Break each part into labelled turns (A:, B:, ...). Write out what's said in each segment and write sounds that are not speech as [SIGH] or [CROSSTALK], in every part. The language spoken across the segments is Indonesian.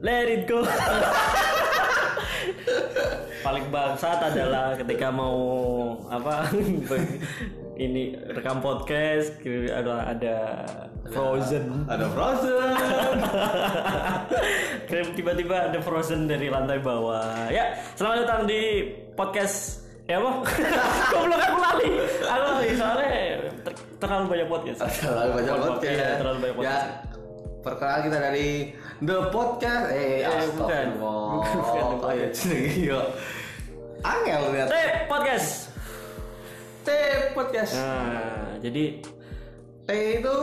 A: Let it go. [LAUGHS] Paling bangsat adalah ketika mau apa [LAUGHS] ini rekam podcast gitu, ada ada Frozen.
B: Ada Frozen.
A: Krim [LAUGHS] tiba-tiba ada Frozen dari lantai bawah. Ya, selamat datang di podcast Ya apa? [LAUGHS] Goblok aku lali. Aku lali soalnya ter- terlalu banyak podcast.
B: [LAUGHS] Terlalu banyak
A: Terlalu
B: podcast.
A: banyak, terlalu banyak
B: Ya,
A: podcast.
B: perkenalan kita dari The Podcast.
A: Eh,
B: Eh,
A: bukan.
B: astagfirullah.
A: Bukan The
B: Oh, ya, jenengnya, yo. Angel lihat.
A: Eh, podcast.
B: T Podcast.
A: Nah, jadi
B: T itu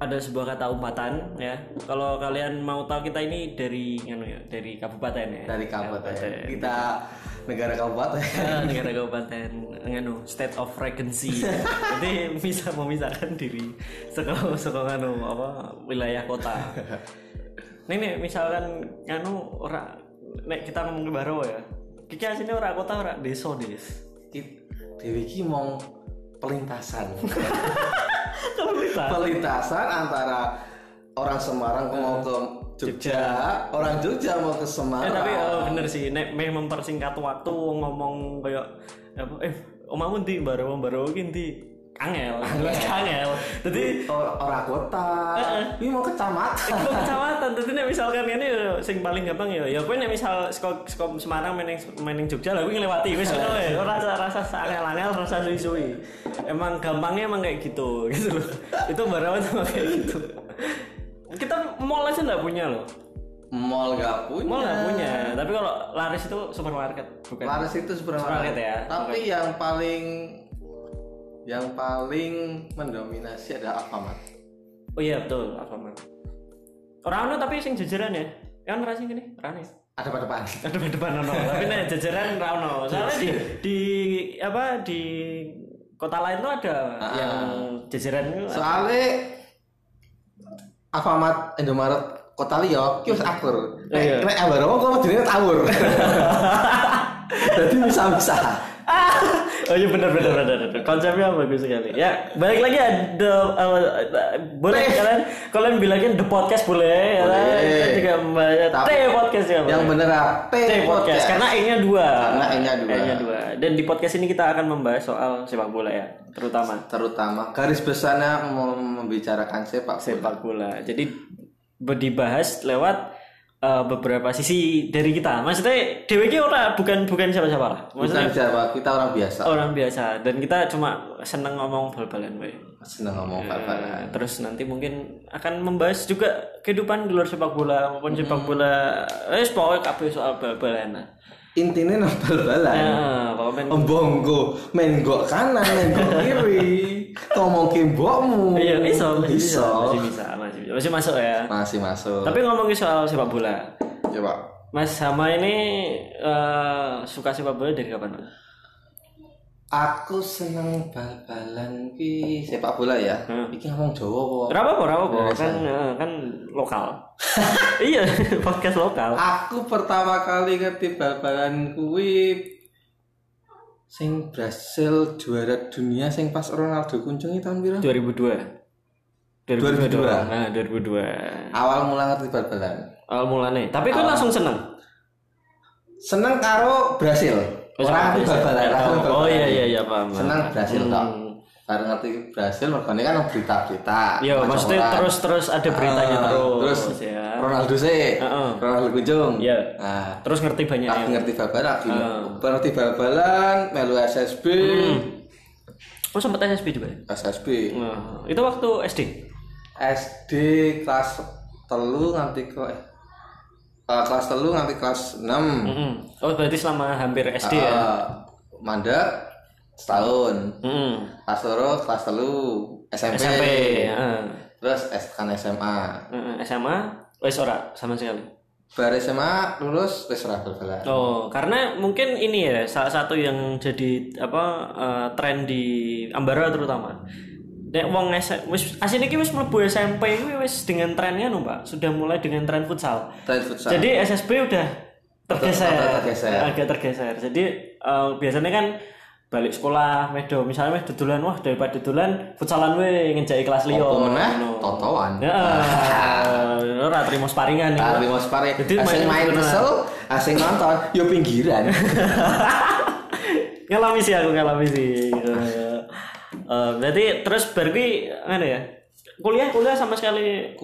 A: ada sebuah kata umpatan ya. Kalau kalian mau tahu kita ini dari nganu ya, dari kabupaten ya.
B: dari kabupaten. Kita negara kabupaten. [LAUGHS]
A: Eh, [LAUGHS] negara kabupaten nganu state of frequency ya. jadi bisa memisahkan diri sekolah sekolah nganu apa wilayah kota nih nih misalkan nganu ora nek kita ngomong ke Baro ya Kiki aslinya ora kota ora desa des
B: Ki- Dewi ki mong
A: [LAUGHS]
B: pelintasan.
A: Pemerintah.
B: pelintasan antara orang Semarang
A: Eh,
B: mau ke Jogja, orang Jogja mau ke
A: Eh,
B: Semarang.
A: tapi oh, bener sih nek meh mempersingkat waktu ngomong kayak apa eh omamu ndi Baro Baro ki ndi [LAUGHS] angel angel [LAUGHS] jadi
B: Or- orang kota.
A: Eh,
B: Ini mau kecamatan.
A: Ke kecamatan tentu nek misalkan ini yo, sing paling gampang ya ya kowe nek misal saka saka Semarang meneng meneng Jogja lah kowe ngliwati wis ngono ya Ora rasa rasa angel-angel rasa suwi-suwi emang gampangnya emang kayak gitu [LAUGHS] gitu loh itu barawan tuh kayak gitu kita mall aja nggak punya loh
B: Mall gak punya.
A: mall nggak punya tapi kalau laris itu supermarket bukan
B: Laris itu sebenarnya.
A: Supermarket ya.
B: Tapi yang paling yang paling mendominasi adalah Alfamart.
A: oh iya betul Alfamart orang tapi sing jajaran ya kan rasa gini rane
B: Ada pada depan.
A: ada depan ono [LAUGHS] tapi nek jajaran ra ono soalnya di,
B: Iya.
A: di apa di kota lain tuh ada
B: Ah.
A: yang jajaran itu
B: Soalnya Alfamart Indomaret Kota Liyo, kios akur.
A: Iya.
B: Nek nek Ambarawa kok jenenge
A: [LAUGHS]
B: tawur. Jadi bisa-bisa.
A: Ah! [LAUGHS] oh iya benar benar benar benar. konsepnya bagus sekali ya balik lagi ada boleh kalian kalian bilangin the podcast boleh ya kan?
B: Boleh.
A: kita juga membaca
B: Tapi-
A: T podcast ya
B: Yang bener ah,
A: T
B: T
A: podcast Iya,
B: podcast.
A: karena E-nya dua
B: Karena E-nya dua.
A: E-nya dua dan di podcast ini kita akan membahas soal sepak bola ya terutama
B: Terutama garis besarnya mem- membicarakan sepak bola.
A: sepak bola. Jadi be- dibahas lewat uh, beberapa sisi dari kita. Maksudnya DWG ora bukan bukan siapa-siapa lah.
B: Bukan
A: Maksudnya
B: bicara kita orang biasa.
A: orang biasa dan kita cuma seneng ngomong bal-balan we.
B: Seneng ngomong apa-apa.
A: Nah, terus nanti mungkin akan membahas juga kehidupan di luar sepak bola maupun sepak bola eh pokoknya kabeh soal bal-balan. Nah,
B: Intinya nambal balan.
A: Iya. pokoknya
B: Embonggo, main gok kanan, main gok kiri. Ngomong ke mbokmu.
A: iya iso, iya. masih bisa,
B: Iso.
A: masih bisa, masih bisa. Masih masuk ya.
B: Masih masuk. Iya,
A: Tapi ngomongin soal sepak bola.
B: Coba.
A: Mas Hama ini eh, suka sepak bola dari kapan? Mas?
B: Aku seneng bal-balan ki sepak bola ya.
A: Hmm.
B: Iki ngomong Jawa apa?
A: Berapa po, berapa po? Kan eh, kan lokal. [LAUGHS] iya, [LAUGHS] podcast lokal.
B: Aku pertama kali ngerti bal-balan kuwi sing Brasil juara dunia sing pas Ronaldo kunjungi tahun piro?
A: 2002.
B: 2002.
A: Nah, 2002.
B: Awal mula ngerti bal-balan.
A: Awal mulane. Tapi
B: Ah.
A: kan langsung seneng.
B: Seneng karo Brasil. Orang aku bal-balan, aku bal-balan.
A: Oh iya iya iya paham. paham.
B: Seneng Brasil tok. Baru ngerti Brasil mergane kan berita-berita.
A: Iya,
B: macam
A: maksudnya
B: orang.
A: terus-terus ada beritanya
B: Ah,
A: terus.
B: terus
A: ya.
B: Ronaldo sih.
A: Heeh.
B: Ronaldo kunjung.
A: Iya.
B: Nah,
A: Terus ngerti banyak
B: aku
A: ya.
B: ngerti bal-balan, aku ngerti bal-balan, melu SSB.
A: Hmm. Oh sempat SSB juga. ya?
B: SSB.
A: Nah, itu waktu SD.
B: SD kelas telu nganti ke eh, kelas telu nganti kelas 6
A: Mm-mm. Oh berarti selama hampir SD ya.
B: Eh, mandek setahun
A: Mm-mm.
B: kelas loro kelas telu SMP,
A: SMP. heeh.
B: terus S kan SMA
A: Heeh, SMA wis ora sama sekali.
B: bar SMA lulus wis ora bal-balan
A: Oh, karena mungkin ini ya salah satu yang jadi apa eh, tren di Ambarawa terutama. Nek wong S- wis asine iki wis mlebu SMP kuwi wis dengan trennya no, Pak. Sudah mulai dengan tren futsal.
B: Tren futsal
A: Jadi SSB udah tergeser,
B: Agak tergeser.
A: agak tergeser. Jadi eh, biasanya kan balik sekolah, medo misalnya meh dudulan wah daripada Oh. dudulan futsalan we ngejaki kelas liyo.
B: pemenah
A: Ngono.
B: totoan
A: Ya, ora tarimo sparingan [LAUGHS] ya.
B: Tapi mau sparring.
A: Jadi main
B: Asing main
A: beneran.
B: kesel, asing nonton, yo
A: [LAUGHS]
B: pinggiran.
A: ngalami sih aku ngalami sih Eh, eh, berarti terus berarti ngene ya kuliah kuliah sama sekali nggak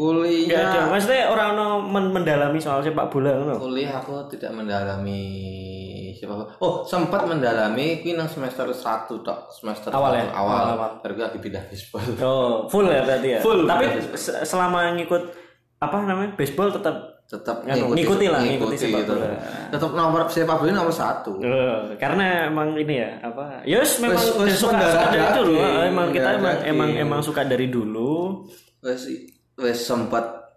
A: ada
B: Kuliah.
A: maksudnya orang no men- mendalami soal sepak bola ngono
B: Kuliah aku tidak mendalami siapa Oh, sempat mendalami kuwi nang semester 1 tok, semester
A: Awal
B: satu
A: ya?
B: awal.
A: Awal, awal.
B: Baru aku pindah baseball.
A: oh full ya berarti ya
B: Full.
A: tapi se- selama ngikut apa namanya baseball tetap
B: Tetap
A: Nganu, ngikuti lah, ngikuti sepak
B: gitu.
A: bola.
B: Tetap nomor sepak bola nomor satu
A: Eh, karena emang ini ya apa yes memang
B: Wes- wes
A: suka,
B: mendarah
A: suka dari
B: daging,
A: itu loh Eh, emang kita
B: mendarah
A: emang,
B: daging.
A: emang emang suka dari dulu
B: Wes wes sempat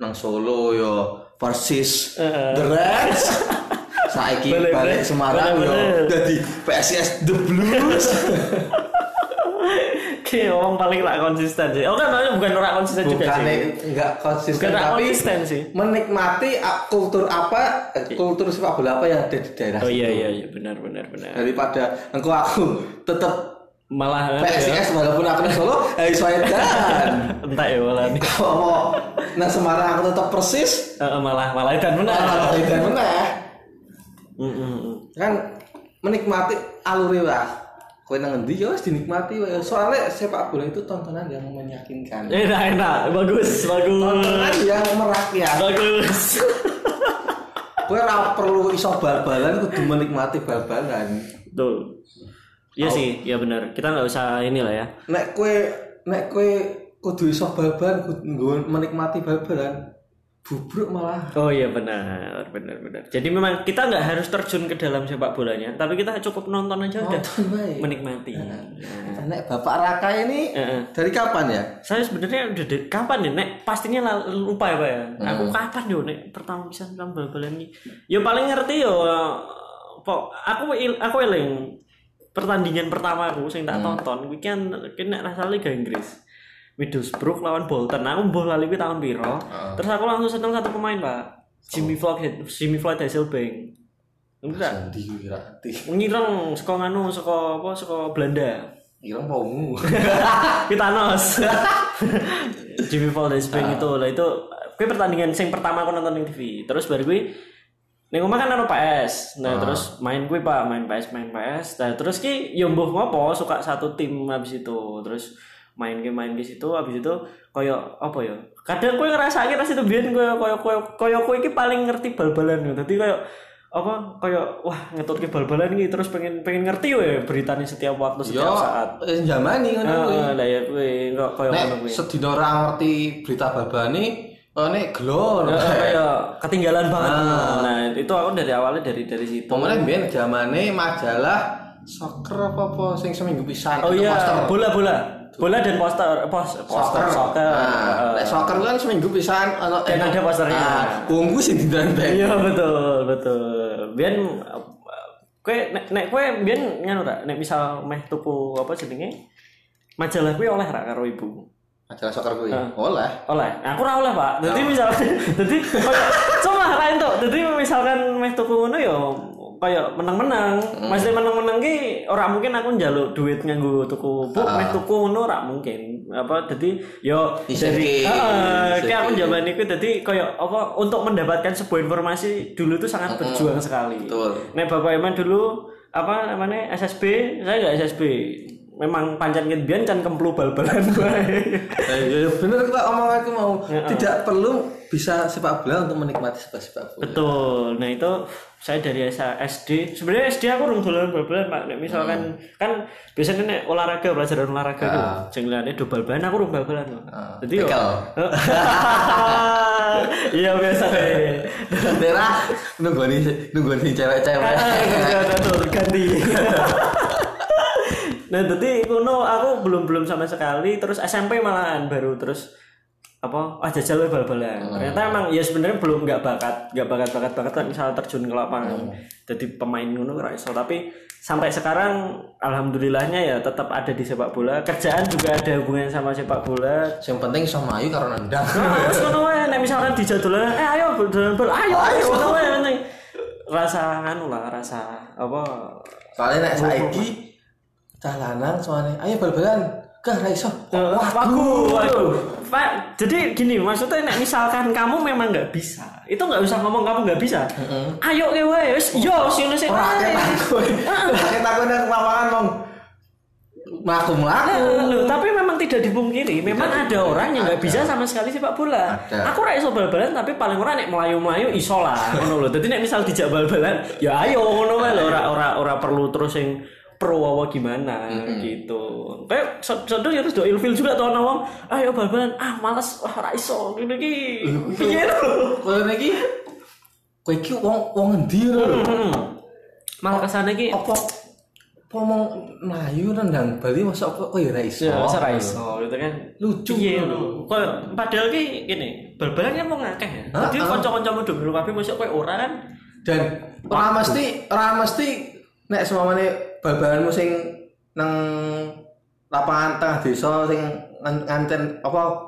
B: nang Solo yo Persis
A: Heeh.
B: The
A: [LAUGHS]
B: Reds. Saiki
A: Bener, bener.
B: balik Semarang
A: Bener,
B: yo
A: bener.
B: jadi PSIS The
A: [LAUGHS]
B: Blues.
A: kayak orang paling tak konsisten sih oh kan maksudnya bukan orang konsisten juga
B: Bukan
A: sih
B: enggak
A: bukan
B: konsisten
A: orang
B: tapi
A: konsisten sih
B: menikmati a- kultur apa eh, kultur sepak bola apa yang ada di daerah
A: oh iya iya iya benar benar benar
B: daripada engkau aku tetap
A: malah ya,
B: PSIS walaupun aku nang Solo Hai Swaedan
A: [LAUGHS] entah ya malah nih.
B: kalau mau nah Semarang aku tetap persis
A: Eh, eh, malah malah dan benar
B: malah Swaedan meneh
A: Mm, mm, mm.
B: kan menikmati alure lah kowe nang endi ya wis dinikmati wae. soalnya sepak bola itu tontonan yang meyakinkan
A: enak enak bagus bagus
B: tontonan yang merakyat
A: bagus
B: kowe ora perlu iso bal-balan kudu menikmati bal-balan
A: betul iya
B: Oh.
A: sih iya benar kita nggak usah inilah ya
B: nek kue nek kue kudu iso bal-balan kudu nggo- menikmati bal-balan bubruk malah
A: Oh iya benar, benar benar. Jadi memang kita nggak harus terjun ke dalam sepak bolanya, tapi kita cukup nonton aja udah
B: nonton bae
A: menikmati.
B: nek bapak raka ini
A: Heeh.
B: dari kapan ya
A: Saya sebenarnya udah dari- kapan nih, Nek? Pastinya la- lupa ya, Pak ya. Aku kapan yo Nek pertama bisa tentang bal-balan ini. Ya paling ngerti yo eh, po, aku il- aku eling pertandingan pertama aku sing tak tonton kuwi kan kena rasa Liga Inggris. Middlesbrough lawan Bolton. Aku mbok lali kuwi tahun piro. Terus aku langsung seneng satu pemain, Pak. Jimmy Floyd, Jimmy Floyd Hasselbank. Enggak,
B: sandi wirati
A: ngireng saka nganu saka apa saka Belanda.
B: ireng [LAUGHS] paumu
A: Thanos. [LAUGHS] Jimmy Valdesbring itu lah itu gue pertandingan sing pertama aku nonton di TV. Terus baru gue Neng omah kan ono PS. Nah, terus main gue Pak, main PS, main PS. Nah, terus ki yo mbuh ngopo suka satu tim habis itu. Terus main game main di situ habis itu koyo apa ya? Kadang gue ngerasa akhirnya situ biyen gue koyo koyo koyo kowe iki paling ngerti bal-balan yo. Dadi koyo apa koyo wah ngetutke bal-balan iki terus pengen pengen ngerti yo beritanya setiap waktu
B: yo
A: setiap saat.
B: eh jamani ngono kuwi
A: Heeh, lah ya kuwi kok koyo
B: nek
A: ngono kuwi.
B: sedina ora ngerti berita babani oh nek glor
A: Heeh, Koyo ketinggalan banget. Nah, itu aku dari awalnya dari dari situ.
B: pemane mbiyen jamane majalah soccer apa apa sing seminggu pisan
A: Oh
B: itu
A: iya,
B: poster.
A: bola bola. Bola dan poster pos, poster soccer.
B: Nah, nek soccer kan seminggu pisan ono
A: Dan
B: eh,
A: ada posternya.
B: ah, Wongku sing didandani.
A: Iya betul, betul. Biyen eh, kowe nek nek kowe biyen nganu ra, nek misal meh tuku apa jenenge? Majalah kuwi oleh ra karo ibu.
B: Acara soccer kuwi. Oleh.
A: oleh aku ora oleh pak jadi [LAUGHS] misalkan jadi kayak cuma lain tuh jadi misalkan meh tuku ngono ya kayak menang-menang maksudnya menang-menang ki ora mungkin aku njaluk duit nganggo tuku bu meh tuku ngono ora mungkin apa jadi yo
B: Diseking,
A: heeh
B: diseking.
A: ki aku jaman iku jadi kayak apa untuk mendapatkan sebuah informasi dulu itu sangat berjuang sekali
B: Betul.
A: Nek Bapak Iman dulu apa namanya SSB, saya nggak SSB. Memang pancen ngebian kan kemplu bal-balan wae.
B: Eh, bener kok omonganku mau tidak perlu bisa sepak bola untuk menikmati sepak sepak
A: [LAUGHS]
B: bola.
A: Betul. Nah itu saya dari S- SD. Sebenarnya SD aku rung dolan bal-balan Pak. Nek misalkan kan biasanya nek olahraga pelajaran olahraga itu sing liyane do bal-balan aku rung bal-balan. Pak. Jadi yo.
B: Bekel.
A: [LAUGHS] Iya biasa deh.
B: [LAUGHS] Daerah nunggoni nunggoni cewek-cewek.
A: Ah, Betul, ganti. [LAUGHS] nah, jadi kuno aku belum belum sama sekali terus SMP malahan baru terus apa ah jajal we bal-balan. Ternyata emang ya sebenarnya belum nggak bakat, nggak bakat-bakat banget kan misalnya terjun ke lapangan. Jadi pemain ngono ora iso, tapi sampai sekarang alhamdulillahnya ya tetap ada di sepak bola. Kerjaan juga ada hubungan sama sepak bola.
B: Yang penting iso melayu karo nendang.
A: Nah, terus ngono wae nek misalkan di jadolan, eh ayo bal dolan bal, ayo ayo ngono wae penting. Rasa anu lah, rasa apa
B: Soalnya nek saiki cah lanang soalnya ayo bal-balan. gak ra iso
A: Wagu, waduh. Pak, jadi gini, maksudnya nek misalkan kamu memang nggak bisa, itu nggak usah ngomong kamu nggak bisa. Ayo ke wae, wis yo sini sini. Ah, wae.
B: ora ketakon ora ketakon nang lapangan mong mlaku mlaku
A: Eh, loh, tapi memang tidak dipungkiri, memang ada orang yang nggak bisa sama sekali sepak bola.
B: Ada.
A: Aku ra iso bal-balan tapi paling ora nek melayu-melayu iso lah, ngono lho. Dadi nek misal dijak bal-balan, ya ayo ngono wae lho, ora ora ora perlu terus yang pro apa gimana gitu. Kayak sedang ya terus do ilfil juga tuh ana wong, ayo bal-balan, ah males, wah ra iso ngene iki. Piye lho? [LAUGHS]
B: kowe iki kowe iki wong wong endi ngono lho
A: Hmm. Malah kesana iki
B: apa apa mong mlayu nendang Bali masa apa kowe ra iso
A: Ya, masa ra iso gitu kan.
B: Lucu
A: Iya,
B: lho.
A: Kok padahal ki gini, bal-balan kan mau ngakeh ya.
B: Ah,
A: Jadi
B: ah.
A: kanca-kancamu do guru kabeh mosok kowe ora kan.
B: dan ora mesti ora mesti nek semamane babalanmu sing nang lapangan tengah desa sing ngan- nganten apa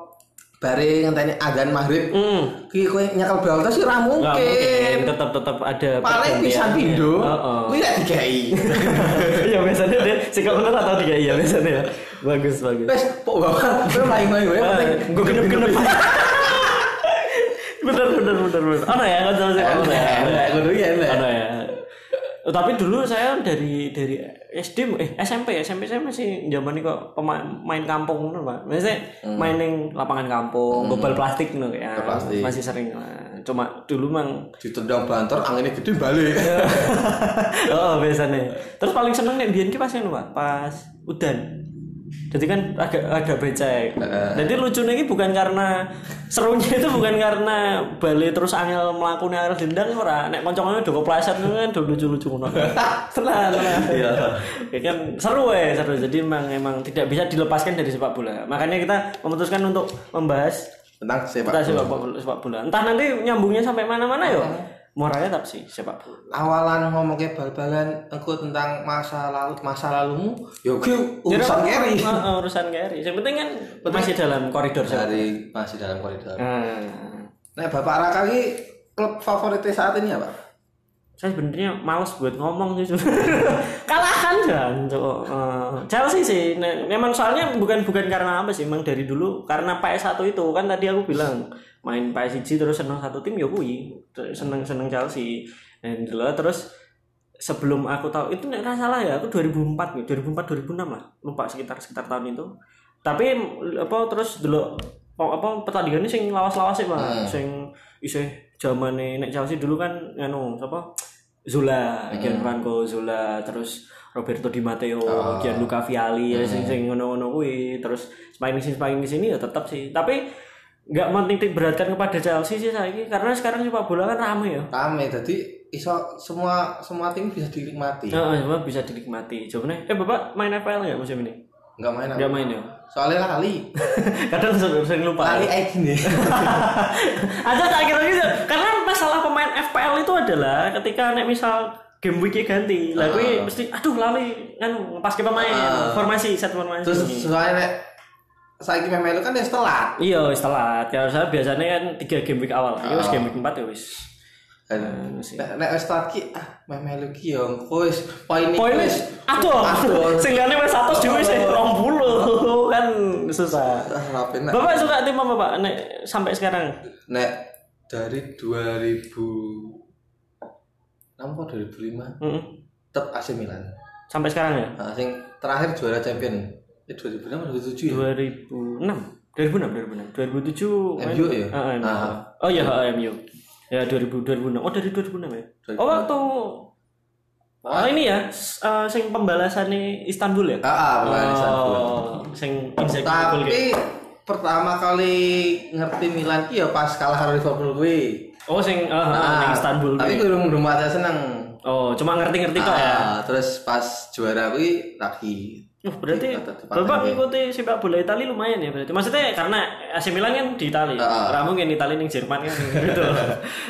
B: bare ngenteni azan maghrib
A: Hmm.
B: ki kowe nyekel bal terus sih ora mungkin
A: tetap tetap ada
B: paling
A: pergantian.
B: pisan pindho
A: Heeh.
B: kuwi lek digawe
A: [LAUGHS] Iya biasanya dia sikap bener atau tidak iya biasanya. ya. Bagus bagus.
B: wis pok bawa kowe main-main wae penting
A: Gue genep-genep. [LAUGHS] Bener bener bener bener. Ono ya kan sama
B: Enak, enak, kudu ya enak.
A: Ono ya. Oh, Tapi dulu saya dari dari SD eh SMP SMP saya masih zaman itu kok pemain main kampung ngono, Pak. Maksudnya
B: Hmm.
A: main yang lapangan kampung, bobal plastik ngono ya.
B: Bal Hmm. plastik.
A: Masih sering lah. Cuma dulu mang
B: ditendang banter anginnya gede balik
A: [LAUGHS] oh biasanya terus paling seneng nih biyen ki pas anu pak pas udan jadi kan agak agak becek jadi lucunya ini bukan karena serunya itu bukan karena Bali terus angel melakukan harus dendang ora nek koncongannya udah kepleset itu kan udah lucu lucu
B: [LAUGHS]
A: ngono tenang tenang
B: Iya.
A: ya kan seru ya seru jadi emang emang tidak bisa dilepaskan dari sepak bola makanya kita memutuskan untuk membahas
B: tentang sepak
A: tentang sepak bola, sepak bola. entah nanti nyambungnya sampai mana mana yo moralnya tetap sih sepak bola
B: awalan ngomongnya bal-balan engko tentang masa lalu masa lalumu ya gue urusan
A: Jadi,
B: keri
A: oh, oh, urusan Gary. Yang penting kan masih dalam
B: Nah.
A: koridor saya.
B: dari masih dalam koridor
A: Hmm.
B: nah bapak Raka ini klub favoritnya saat ini ya, apa
A: Saya sebenarnya males buat ngomong sih. [LAUGHS] sebenarnya. Kalahkan kan, cok. Eh, Chelsea sih. Nah, memang soalnya bukan bukan karena apa sih, memang dari dulu karena PS1 itu kan tadi aku bilang main PS1 terus seneng satu tim ya kui. Seneng seneng Chelsea. Dan dulu terus sebelum aku tahu itu nggak salah ya aku 2004 nih 2004 2006 lah lupa sekitar sekitar tahun itu tapi apa terus dulu apa pertandingannya sing lawas-lawas sih mah sing isih zamane nek Chelsea dulu kan anu apa Zula, Gianfranco Zula, terus Roberto Di Matteo, Gianluca Vialli, ya, sing sing ngono-ngono kuwi, terus spying sini spying sini ya tetap sih. Tapi nggak menitik beratkan kepada Chelsea sih saya karena sekarang sepak bola kan rame ya.
B: rame jadi iso semua semua tim bisa dinikmati
A: Heeh, cuma bisa dinikmati. Jawabannya, eh Bapak main FPL nggak musim ini?
B: nggak main apa
A: Nggak main ya. [LAUGHS]
B: soalnya lali
A: Kadang sering sering lupa.
B: lali kayak gini
A: [LAUGHS] Ada tak kira gitu. Karena masalah pemain FPL itu adalah ketika nek misal game week ganti, lah kuwi mesti aduh lali kan pas ke pemain formasi set formasi.
B: [LAUGHS] terus soalnya nek saya kira melu kan ya telat
A: iya wis telat. Ya saya biasanya kan 3 game week awal. Ini wis game week 4 ya wis.
B: Dan nek nek wis telat ki ah melu ki ya engko wis poin
A: Poin wis aduh.
B: [LAUGHS]
A: [LAUGHS]
B: Aduh.
A: Senggane wis 100 dhewe sih 20 [LAUGHS] kan susah.
B: ah rapi nek
A: Bapak suka tim apa, Pak? Nek sampai sekarang.
B: nek dari 2000 enam kok 2005
A: Mm-mm.
B: tetap AC Milan
A: Sampai sekarang ya?
B: nah, sing terakhir juara champion ya 2006 atau 2007 ya
A: 2006 2006 2006 2007 main-
B: MU ya?
A: Ah, ah, MU.
B: Ah.
A: oh iya ah, MU ya 2000 2006 oh dari 2006 ya
B: 2006.
A: oh waktu oh, ini ya s- eh, sing pembalasannya Istanbul ya
B: ah ah pemain Liverpool.
A: oh sing gitu. Inzaghi gol ya.
B: tapi
A: kayak-
B: pertama kali ngerti Milan ki ya pas kalah karo Liverpool kuwi
A: oh sing ah, ah, ning Istanbul
B: tapi
A: kayak.
B: kurang rumah aja seneng
A: oh cuma ngerti-ngerti kok ya
B: Ah, terus pas juara kuwi lagi
A: Wah, berarti
B: Di-
A: Bapak ngikuti sepak bola Itali lumayan ya berarti. Maksudnya karena AC Milan kan di Itali.
B: Ah.
A: Ora mungkin Itali ning Jerman kan [LAUGHS] gitu.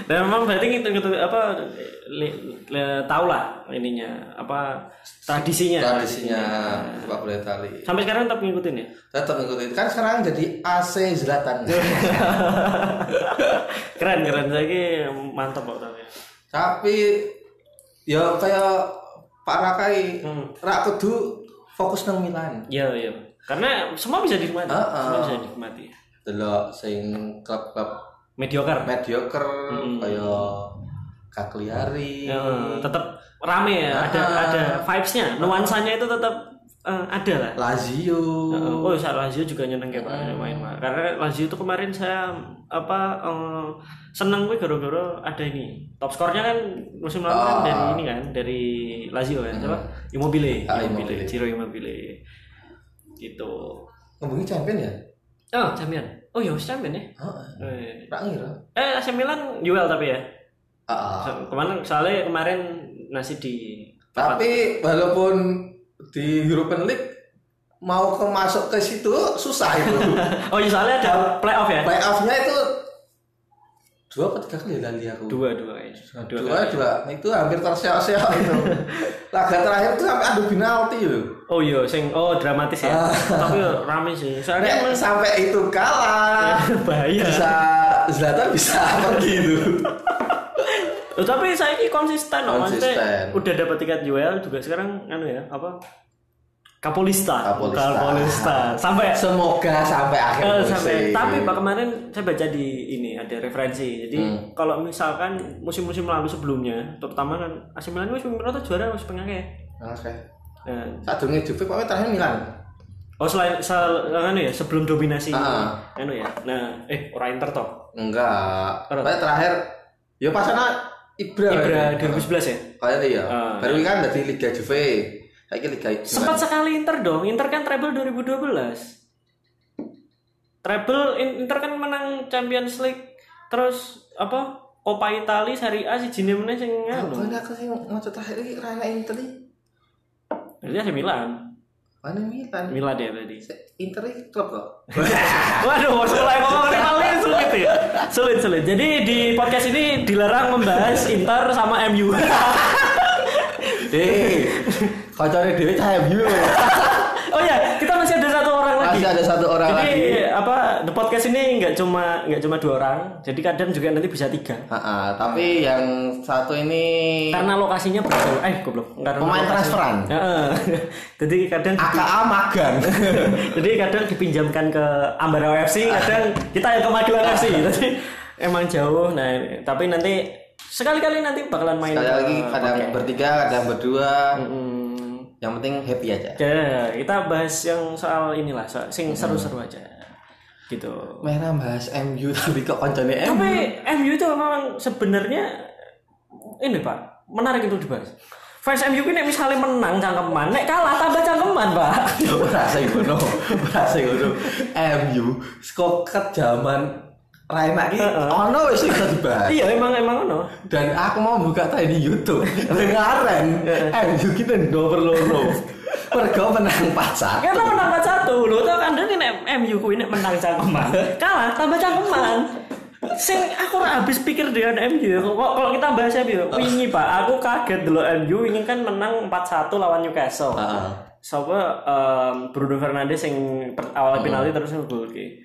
A: Dan memang berarti gitu, gitu apa li, le- tau lah ininya apa tradisinya.
B: tradisinya sepak bola Itali
A: Sampai sekarang tetap ngikutin ya. [LAUGHS]
B: tetap ngikutin kan sekarang jadi AC Zlatan
A: keren keren saya mantap kok tapi.
B: tapi
A: Hmm.
B: ya kayak Pak Rakai rak kudu fokus nang Milan
A: Iya iya. Karena semua bisa dinikmati.
B: Heeh.
A: Semua bisa dinikmati.
B: delok sing klub-klub
A: Mediocre.
B: mediocre kaya Cagliari.
A: Hmm. Ya, tetap rame ya. Ada
B: Heeh.
A: ada vibes-nya, nuansanya itu tetap eh, ada lah.
B: Lazio.
A: Heeh. oh, saya Lazio juga nyeneng kayak Pak Arya main Pak. Karena Lazio itu kemarin saya apa eh, seneng gue gara-gara ada ini. Top skornya kan musim lalu kan
B: Ah.
A: dari ini kan dari Lazio kan. Coba Immobile,
B: Ah,
A: Immobile,
B: Immobile.
A: Ciro Immobile. Gitu.
B: Ngomongin champion ya?
A: Oh, champion. Oh, ya wis champion ya.
B: Heeh.
A: Eh,
B: Tak ngira.
A: eh, AC Milan jual tapi ya.
B: Heeh.
A: Kemarin soalnya kemarin nasi di [LAUGHS]
B: Tapi walaupun di European League mau ke masuk ke situ susah
A: [LAUGHS]
B: itu.
A: Oh, iya, soalnya ada playoff ya.
B: Playoff-nya itu dua apa tiga kali lali aku.
A: Dua, dua ya. Dua.
B: dua, dua. itu hampir terseok-seok
A: [LAUGHS]
B: itu. Laga terakhir tuh sampai adu penalti loh.
A: Oh iya, sing oh dramatis ya. tapi rame sih. Soalnya
B: Sampai, sampai itu kalah.
A: [LAUGHS] bahaya.
B: Bisa Zlatan
A: [LAUGHS]
B: bisa gitu. pergi itu.
A: Loh, tapi saya ini konsisten loh, maksudnya
B: Konsisten.
A: udah dapat tiket UL juga sekarang anu ya, apa? Kapolista.
B: Kapolista.
A: Kapolista. Sampai
B: Semoga sampai akhir
A: Eh,
B: musim.
A: sampai tapi pak kemarin saya baca di ini ada referensi jadi
B: Hmm.
A: kalau misalkan musim-musim lalu sebelumnya terutama kan AC Milan wis pemimpin atau juara wis pengen ya
B: Oke.
A: Nah,
B: Saat dulu Juve pokoknya terakhir Milan.
A: oh selain sel, anu ya sebelum dominasi
B: Ah.
A: anu ya nah eh orang Inter toh
B: Enggak.
A: Terus?
B: Pokoknya terakhir ya pas sana Ibra.
A: Ibra 2011 ya
B: Kayaknya iya.
A: Ah,
B: Baru ini kan dari Liga Juve. Kayak Liga Juve.
A: sempat sekali Inter dong Inter kan treble 2012 treble In- Inter kan menang Champions League terus apa Coppa Italia Serie A si Jine meneh sing anu
B: Pokoknya aku sih mau terakhir ini Rana Inter ini.
A: berarti AC Milan
B: Mana Milan?
A: Milan ya tadi
B: Inter ini klub kok.
A: Waduh, mau mulai ngomong rival ini sulit ya. Sulit, sulit. Jadi di podcast ini dilarang membahas Inter sama MU.
B: Eh, kocoknya Dewi cahaya biru.
A: [LAUGHS] oh ya, kita masih ada satu orang lagi.
B: Masih ada satu orang
A: Jadi
B: lagi.
A: apa the podcast ini nggak cuma nggak cuma dua orang, jadi kadang juga nanti bisa tiga.
B: Ha-ha, tapi yang satu ini
A: Karena lokasinya berbeda. Eh, goblok. Karena
B: pemain Ah.
A: lokasi-
B: transferan.
A: Heeh. [LAUGHS] jadi kadang
B: AKA [LAUGHS] magang.
A: jadi kadang dipinjamkan ke Ambarawa FC,
B: Ah.
A: kadang kita yang ke Magelang FC. Jadi emang jauh. Nah, tapi nanti sekali-kali nanti bakalan main.
B: Sekali
A: ke
B: lagi kadang
A: podcast.
B: bertiga, kadang berdua.
A: Hmm,
B: Yang penting happy aja.
A: ya, kita bahas yang soal inilah, soal,
B: Hmm.
A: sing seru-seru aja, gitu.
B: Merah bahas MU tapi kok koncone MU.
A: Tapi MU itu memang sebenarnya ini pak menarik untuk dibahas. Fans MU ini misalnya menang cangkeman, nek kalah tambah cangkeman pak.
B: Berasa ngono. Berasa ngono. MU skoket zaman Raima ini ono wis sing bisa dibahas.
A: iya emang emang ono.
B: Dan aku mau buka tadi YouTube. Dengaran MU kita nomor loro. Mergo menang pasar.
A: Kita menang 4-1 lho tuh kan ini nek MU ku ini menang cangkeman, kalah tambah cangkeman. Sing aku ora habis pikir dengan MU. Kok kalau kita bahas MU, wingi Pak, aku kaget dulu MU ini kan menang 4-1 lawan Newcastle.
B: Heeh.
A: Sapa em, Bruno Fernandes yang per- awal penalti terus ngegol ki.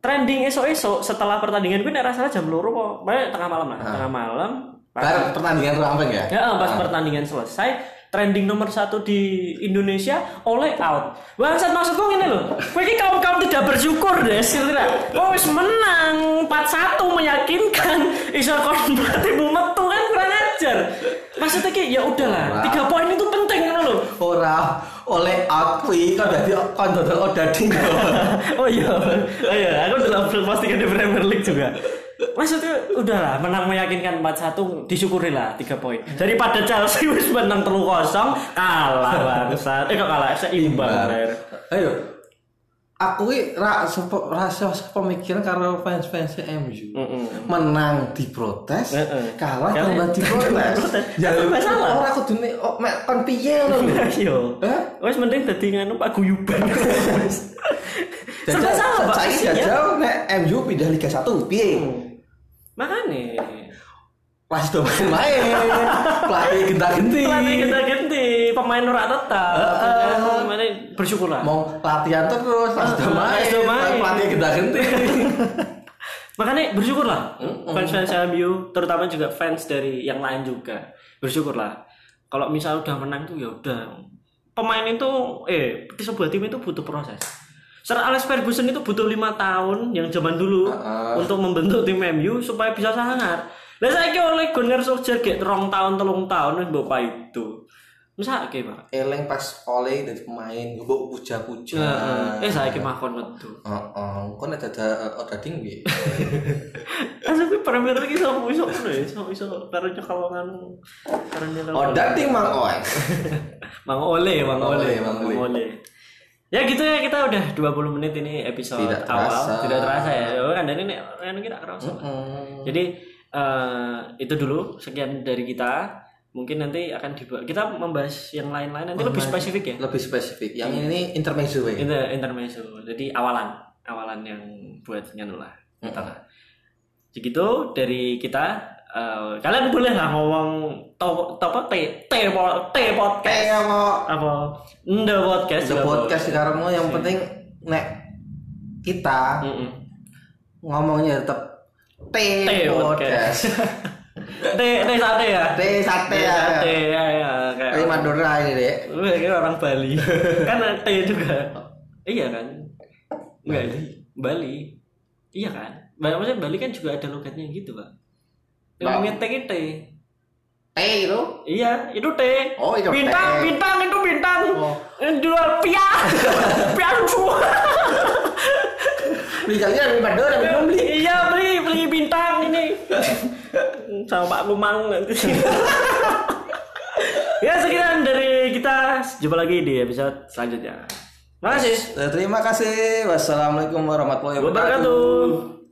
A: Trending esok-esok setelah pertandingan gue nek rasanya jam loro kok. Banyak tengah malam lah, tengah malam.
B: Bar pertandingan ramping ya.
A: Ya, pas pertandingan selesai, trending nomor satu di Indonesia oleh out. Bangsat maksudku gini loh. Kowe iki kaum kaum tidak bersyukur, Des. Ngerti nggak? Kowe wis menang 4-1 meyakinkan. Iso kon berartimu metu kan kurang ajar. Maksudnya ki ya udahlah, tiga poin itu penting ngono loh.
B: ora oleh aku iki kan dadi kon dodol odading
A: [LAUGHS] oh iya, oh iya, aku udah pastikan di Premier League juga. Maksudnya udahlah menang meyakinkan 4-1 disyukurilah 3 poin. Daripada Chelsea wis menang 3-0 kalah bangsat. Eh kok kalah seimbang [LAUGHS] bener.
B: ayo aku iki ra sepo- rasa pemikiran karo fans-fans MU menang diprotes
A: Mm-mm.
B: kalah
A: Kalah
B: tambah diprotes
A: [LAUGHS] diprotes.
B: Jalur-
A: Tambah salah.
B: ora kudune oh, mek kon piye lho
A: Yo.
B: Hah?
A: Wes Iya. mending dadi nganu Pak
B: [LAUGHS]
A: Guyuban. Serba
B: Jajal-
A: salah Pak.
B: saiki
A: Iya.
B: jajal nek MU pindah Liga 1 piye
A: Makane.
B: pas do main-main pelatih genta-genti
A: Pelatih kita ganti pemain ora tetap. Makane bersyukurlah.
B: mau latihan terus pas do
A: Pas
B: main
A: do main.
B: pelatih genta-genti
A: Makanya bersyukurlah fans-fans MU, terutama juga fans dari yang lain juga bersyukurlah. Kalau misal udah menang tuh ya udah pemain itu eh sebuah tim itu butuh proses. Sir Alex Ferguson itu butuh lima tahun yang zaman dulu
B: Heeh.
A: untuk membentuk tim MU supaya bisa sangar. Lah saiki oleh Gunnar Solskjaer gek rong tahun telung tahun wis mbok itu. Masa ke, Pak?
B: Eleng pas oleh dari pemain, gue puja-puja.
A: Eh saiki mah kon metu.
B: Oh, oh, kok ada ada ada ding [LAUGHS] bi?
A: Asal kuwi Premier League iso iso ngono ya, iso iso karo nyekelangan karo nyekelangan.
B: Oh, ding mang oe.
A: Mang Ole, Mang
B: Mang
A: Ole,
B: Ole, Mang Ole.
A: Ya gitu ya kita udah 20 menit ini episode
B: Tidak
A: awal,
B: terasa. Hmm.
A: tidak terasa ya. Oh, kan dan ini kan kita kerasa. Jadi eh, itu dulu sekian dari kita. Mungkin nanti akan dibuat kita membahas yang lain-lain nanti lebih spesifik ya.
B: Lebih spesifik. Yang ini intermezzo ya.
A: Inter intermezzo. Jadi awalan, awalan yang buat nganu lah. Kita lah. Begitu dari kita eh, kalian boleh lah ngomong top top T T T podcast
B: Kayak mau
A: apa nda podcast
B: The
A: juga
B: podcast
A: boleh.
B: sekarang mau yang penting nek kita
A: Mm-mm.
B: ngomongnya tetap T
A: T podcast.
B: podcast.
A: [LAUGHS] T T sate ya
B: T sate
A: T
B: ya.
A: sate ya ya kayak
B: T Madura ini deh.
A: Wah, kira orang
B: [LAUGHS]
A: Bali kan T juga iya kan Bali Bali iya kan Bali maksudnya Bali kan juga ada logatnya gitu pak
B: Nah.
A: ngomongnya T ini T
B: T itu.
A: iya itu T
B: Oh, itu T.
A: bintang bintang itu bintang
B: Oh.
A: Eh, jual
B: [LAUGHS]
A: pia pia semua
B: Misalnya dari Madura belum beli.
A: iya beli beli bintang ini sama Pak Lumang
B: [LAUGHS]
A: nanti ya sekian dari kita jumpa lagi di episode selanjutnya makasih
B: Terima kasih. Wassalamualaikum warahmatullahi wabarakatuh.
A: wabarakatuh